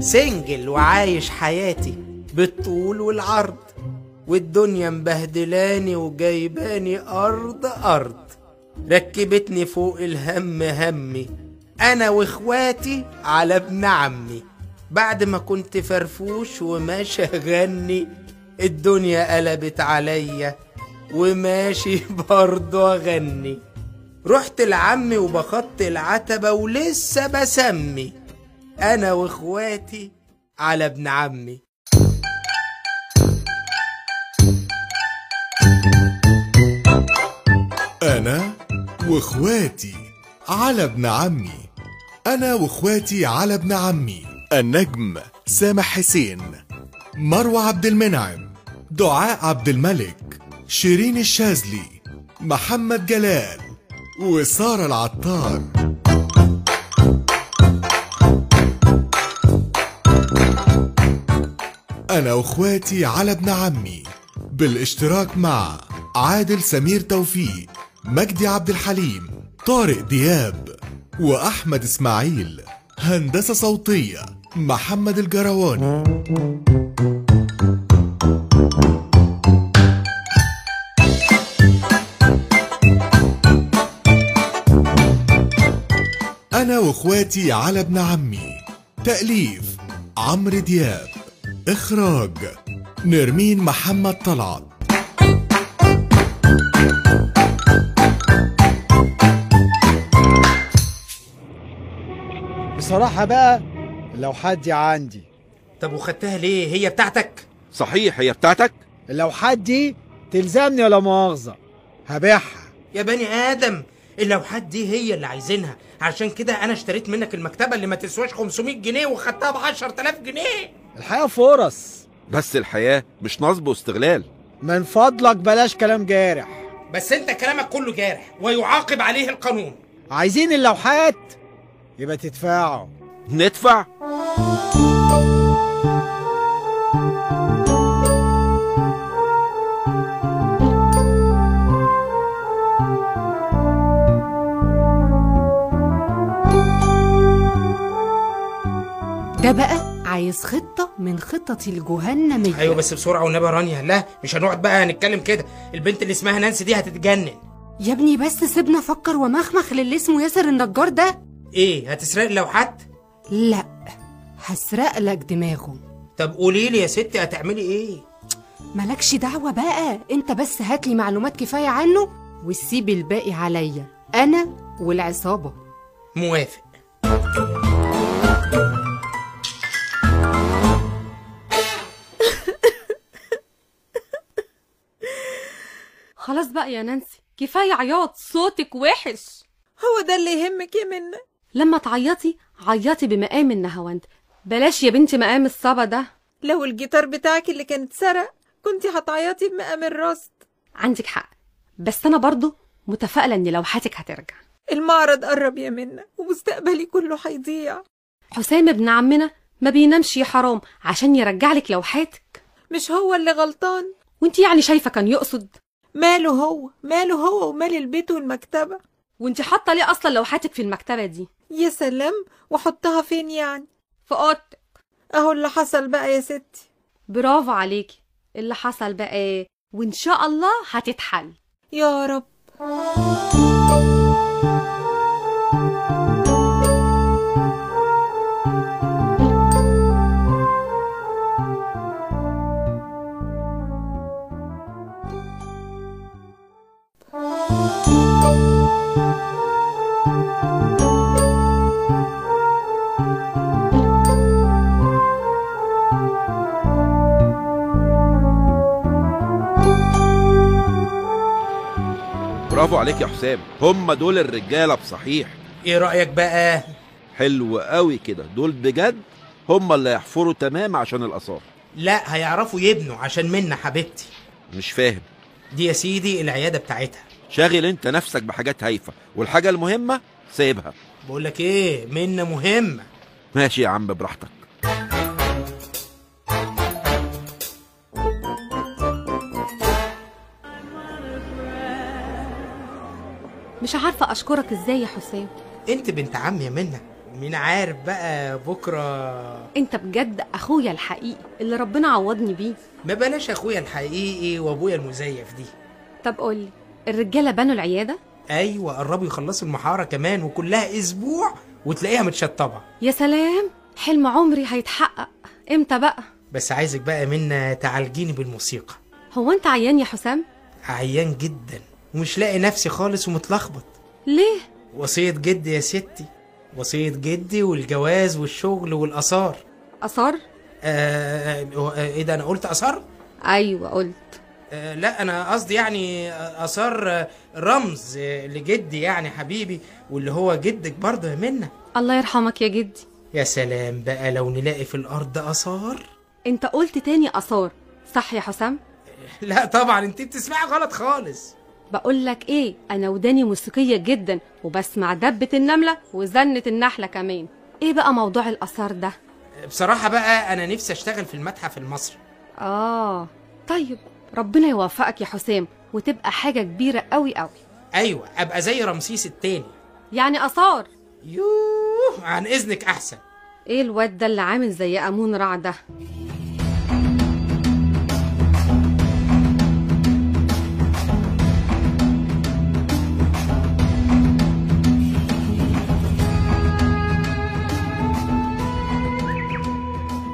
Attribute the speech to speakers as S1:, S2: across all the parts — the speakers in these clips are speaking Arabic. S1: سنجل وعايش حياتي بالطول والعرض والدنيا مبهدلاني وجايباني أرض أرض ركبتني فوق الهم همي أنا وإخواتي على ابن عمي بعد ما كنت فرفوش وماشي أغني الدنيا قلبت عليا وماشي برضه أغني رحت لعمي وبخط العتبة ولسه بسمي أنا وإخواتي على ابن عمي
S2: أنا وإخواتي على ابن عمي أنا وإخواتي على ابن عمي النجم سامح حسين مروة عبد المنعم دعاء عبد الملك شيرين الشاذلي محمد جلال وسارة العطار أنا وإخواتي على ابن عمي بالاشتراك مع عادل سمير توفيق مجدي عبد الحليم طارق دياب وأحمد إسماعيل هندسة صوتية محمد الجرواني أنا وإخواتي على ابن عمي تأليف عمرو دياب إخراج نرمين محمد طلعت
S3: بصراحة بقى اللوحات دي عندي
S1: طب وخدتها ليه هي بتاعتك
S4: صحيح هي بتاعتك
S3: اللوحات دي تلزمني ولا مؤاخذة هبيعها
S1: يا بني آدم اللوحات دي هي اللي عايزينها عشان كده أنا اشتريت منك المكتبة اللي ما تسواش 500 جنيه وخدتها ب 10000 جنيه
S3: الحقيقة فرص
S4: بس الحياة مش نصب واستغلال
S3: من فضلك بلاش كلام جارح
S1: بس أنت كلامك كله جارح ويعاقب عليه القانون
S3: عايزين اللوحات يبقى تدفعوا
S4: ندفع
S5: ده بقى عايز خطة من خطط الجهنمية
S1: أيوة بس بسرعة والنبي يا رانيا لا مش هنقعد بقى هنتكلم كده البنت اللي اسمها نانسي دي هتتجنن
S5: يا ابني بس سيبنا افكر ومخمخ للي اسمه ياسر النجار ده
S1: إيه هتسرق اللوحات
S5: لا هسرق لك دماغه
S1: طب قولي لي يا ستي هتعملي إيه
S5: مالكش دعوة بقى انت بس هاتلي معلومات كفاية عنه وسيب الباقي عليا انا والعصابة
S1: موافق
S6: خلاص بقى يا نانسي كفاية عياط صوتك وحش
S7: هو ده اللي يهمك ايه منا
S6: لما تعيطي عيطي بمقام النهاوند بلاش يا بنتي مقام الصبا ده
S7: لو الجيتار بتاعك اللي كان اتسرق كنت هتعيطي بمقام الراس
S6: عندك حق بس أنا برضو متفائلة إن لوحاتك هترجع
S7: المعرض قرب يا منا ومستقبلي كله هيضيع
S6: حسام ابن عمنا ما بينامش يا حرام عشان يرجع لك لوحاتك
S7: مش هو اللي غلطان
S6: وانت يعني شايفة كان يقصد
S7: ماله هو ماله هو ومال البيت والمكتبة
S6: وانت حاطة ليه أصلا لوحاتك في المكتبة دي
S7: يا سلام وحطها فين يعني
S6: في أوضتك
S7: اهو اللي حصل بقى يا ستي
S6: برافو عليكي اللي حصل بقى ايه وإن شاء الله هتتحل
S7: يا رب
S4: برافو عليك يا حسام هم دول الرجالة بصحيح
S1: إيه رأيك بقى
S4: حلو قوي كده دول بجد هم اللي يحفروا تمام عشان الآثار
S1: لا هيعرفوا يبنوا عشان منا حبيبتي
S4: مش فاهم
S1: دي يا سيدي العيادة بتاعتها
S4: شاغل انت نفسك بحاجات هايفة والحاجة المهمة سايبها
S1: بقول لك ايه منا مهمة
S4: ماشي يا عم براحتك
S6: مش عارفة أشكرك إزاي يا حسام
S1: انت بنت عمي يا منا مين عارف بقى بكره
S6: انت بجد اخويا الحقيقي اللي ربنا عوضني بيه
S1: ما بلاش اخويا الحقيقي وابويا المزيف دي
S6: طب قولي الرجاله بنوا العياده
S1: ايوه قربوا يخلصوا المحاره كمان وكلها اسبوع وتلاقيها متشطبه
S6: يا سلام حلم عمري هيتحقق امتى بقى
S1: بس عايزك بقى منا تعالجيني بالموسيقى
S6: هو انت عيان يا حسام
S1: عيان جدا ومش لاقي نفسي خالص ومتلخبط
S6: ليه
S1: وصية جدي يا ستي وصية جدي والجواز والشغل والآثار
S6: اثار
S1: آه آه، آه، ايه ده انا قلت آثار؟
S6: ايوه قلت
S1: آه لا انا قصدي يعني آه، آثار آه، رمز آه، لجدي يعني حبيبي واللي هو جدك برضه يا منى
S6: الله يرحمك يا جدي
S1: يا سلام بقى لو نلاقي في الأرض آثار
S6: انت قلت تاني اثار صح يا حسام
S1: لا طبعا انت بتسمعي غلط خالص
S6: بقول لك ايه انا وداني موسيقيه جدا وبسمع دبه النمله وزنه النحله كمان ايه بقى موضوع الاثار ده
S1: بصراحة بقى أنا نفسي أشتغل في المتحف المصري
S6: اه طيب ربنا يوفقك يا حسام وتبقى حاجه كبيره قوي قوي
S1: أيوة أبقى زي رمسيس التاني
S6: يعني اثار
S1: يوه عن إذنك أحسن
S6: ايه الواد ده اللي عامل زي امون رع ده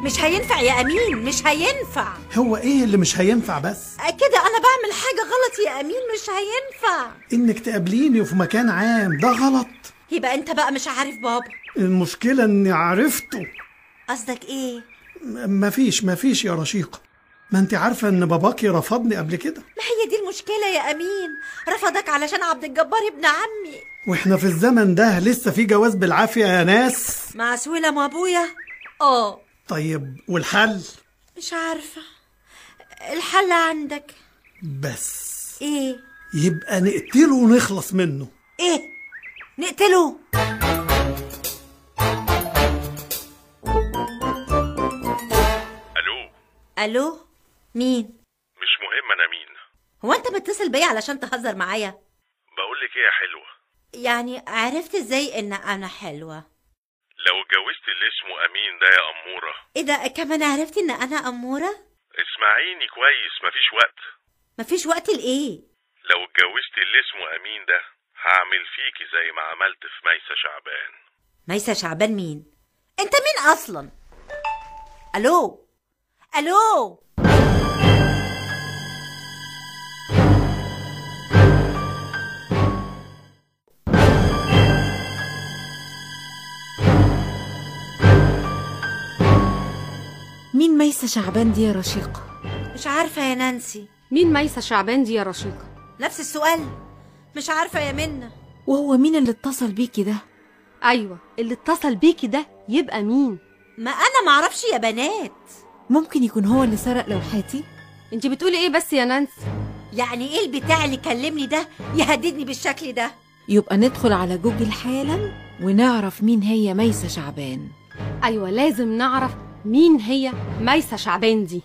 S8: مش هينفع يا امين مش هينفع
S9: هو ايه اللي مش هينفع بس
S8: كده انا بعمل حاجه غلط يا امين مش هينفع
S9: انك تقابليني في مكان عام ده غلط
S8: يبقى انت بقى مش عارف بابا
S9: المشكله اني عرفته
S8: قصدك ايه
S9: م- مفيش مفيش يا رشيقه ما انت عارفه ان باباكي رفضني قبل كده
S8: ما هي دي المشكله يا امين رفضك علشان عبد الجبار ابن عمي
S9: واحنا في الزمن ده لسه في جواز بالعافيه يا ناس
S8: معسوله ما ابويا اه
S9: طيب والحل
S8: مش عارفه الحل عندك
S9: بس
S8: ايه
S9: يبقى نقتله ونخلص منه
S8: ايه نقتله
S10: الو
S8: الو مين
S10: مش مهم انا مين
S8: هو انت متصل بيا علشان تهزر معايا
S10: بقول لك ايه يا حلوه
S8: يعني عرفت ازاي ان انا حلوه
S10: لو اتجوزت اللي اسمه امين ده يا اموره
S8: ايه ده كمان عرفت ان انا اموره
S10: اسمعيني كويس مفيش وقت
S8: مفيش وقت لايه
S10: لو اتجوزت اللي اسمه امين ده هعمل فيكي زي ما عملت في ميسه شعبان
S8: ميسة شعبان مين؟ انت مين اصلا؟ الو الو
S11: مين ميسة شعبان دي يا رشيقة؟
S8: مش عارفة يا نانسي
S6: مين ميسه شعبان دي يا رشيقه
S8: نفس السؤال مش عارفة يا منى
S11: وهو مين اللي اتصل بيكي ده؟
S6: ايوه اللي اتصل بيكي ده يبقى مين
S8: ما انا معرفش يا بنات
S11: ممكن يكون هو اللي سرق لوحاتي؟
S6: انت بتقولي ايه بس يا نانسي
S8: يعني ايه البتاع اللي كلمني ده يهددني بالشكل ده
S11: يبقى ندخل على جوجل حالا ونعرف مين هي ميسة شعبان
S6: ايوه لازم نعرف مين هي ميسه شعبان دي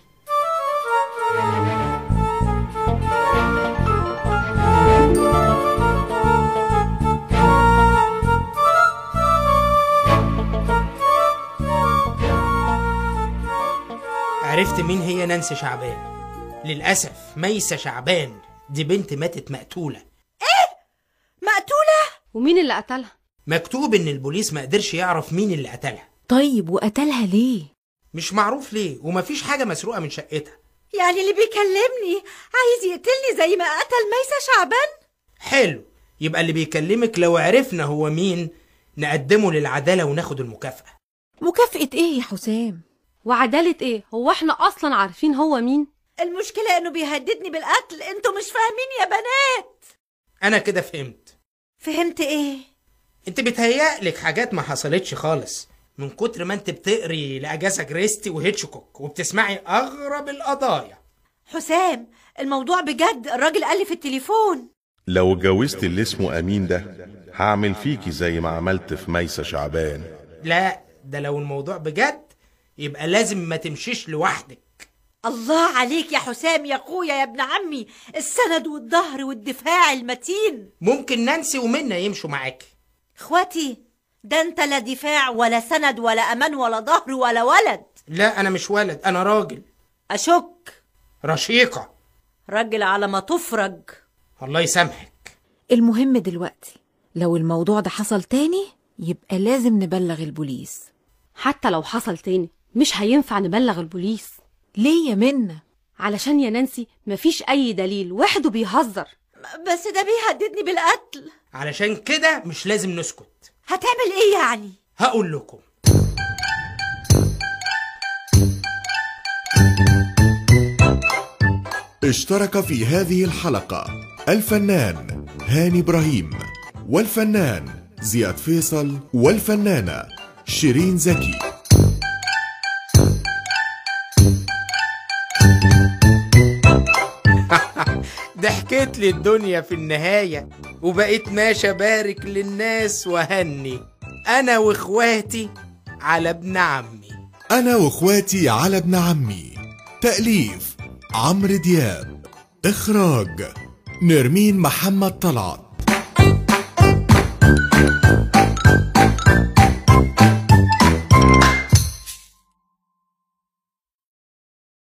S1: عرفت مين هي نانسي شعبان للأسف ميسة شعبان دي بنت ماتت مقتولة
S8: مقتولة
S6: ومين اللي قتلها
S1: مكتوب إن البوليس ما قدرش يعرف مين اللي قتلها
S11: طيب وقتلها ليه؟
S1: مش معروف ليه ومفيش حاجة مسروقة من شقتها
S8: يعني اللي بيكلمني عايز يقتلني زي ما قتل ميسة شعبان
S1: حلو يبقى اللي بيكلمك لو عرفنا هو مين نقدمه للعدالة وناخد المكافأة
S11: مكافأة ايه يا حسام؟
S6: وعداله ايه هو احنا اصلا عارفين هو مين
S8: المشكلة انه بيهددني بالقتل انتوا مش فاهمين يا بنات
S1: أنا كده فهمت
S8: فهمت ايه
S1: أنت بتهيألك حاجات ما حصلتش خالص من كتر ما أنت بتقري لأجاسا كريستي وهيتشكوك وبتسمعي أغرب القضايا
S8: حسام الموضوع بجد الراجل قال لي في التليفون
S10: لو اتجوزت اللي اسمه امين ده هعمل فيكي زي ما عملت في ميسه شعبان
S1: لا ده لو الموضوع بجد يبقى لازم ما تمشيش لوحدك
S8: الله عليك يا حسام يا اخويا يا ابن عمي السند والظهر والدفاع المتين
S1: ممكن نانسي ومنى يمشوا معاكي
S8: اخواتي ده انت لا دفاع ولا سند ولا امان ولا ظهر ولا ولد
S1: لا انا مش ولد انا راجل
S8: اشك
S1: رشيقه
S8: راجل على ما تفرج
S1: الله يسامحك
S11: المهم دلوقتي لو الموضوع ده حصل تاني يبقى لازم نبلغ البوليس
S6: حتى لو حصل تاني مش هينفع نبلغ البوليس
S11: ليه يا منة؟
S6: علشان يا نانسي مفيش أي دليل وحده بيهزر
S8: بس ده بيهددني بالقتل
S1: علشان كده مش لازم نسكت
S8: هتعمل ايه يعني
S1: هقول لكم
S2: اشترك في هذه الحلقة الفنان هاني إبراهيم والفنان زياد فيصل والفنانة شيرين زكي
S1: ضحكت لي الدنيا في النهاية وبقيت ماشي أبارك للناس وهني أنا وإخواتي على ابن عمي
S2: أنا وإخواتي على ابن عمي تأليف عمرو دياب إخراج نرمين محمد طلعت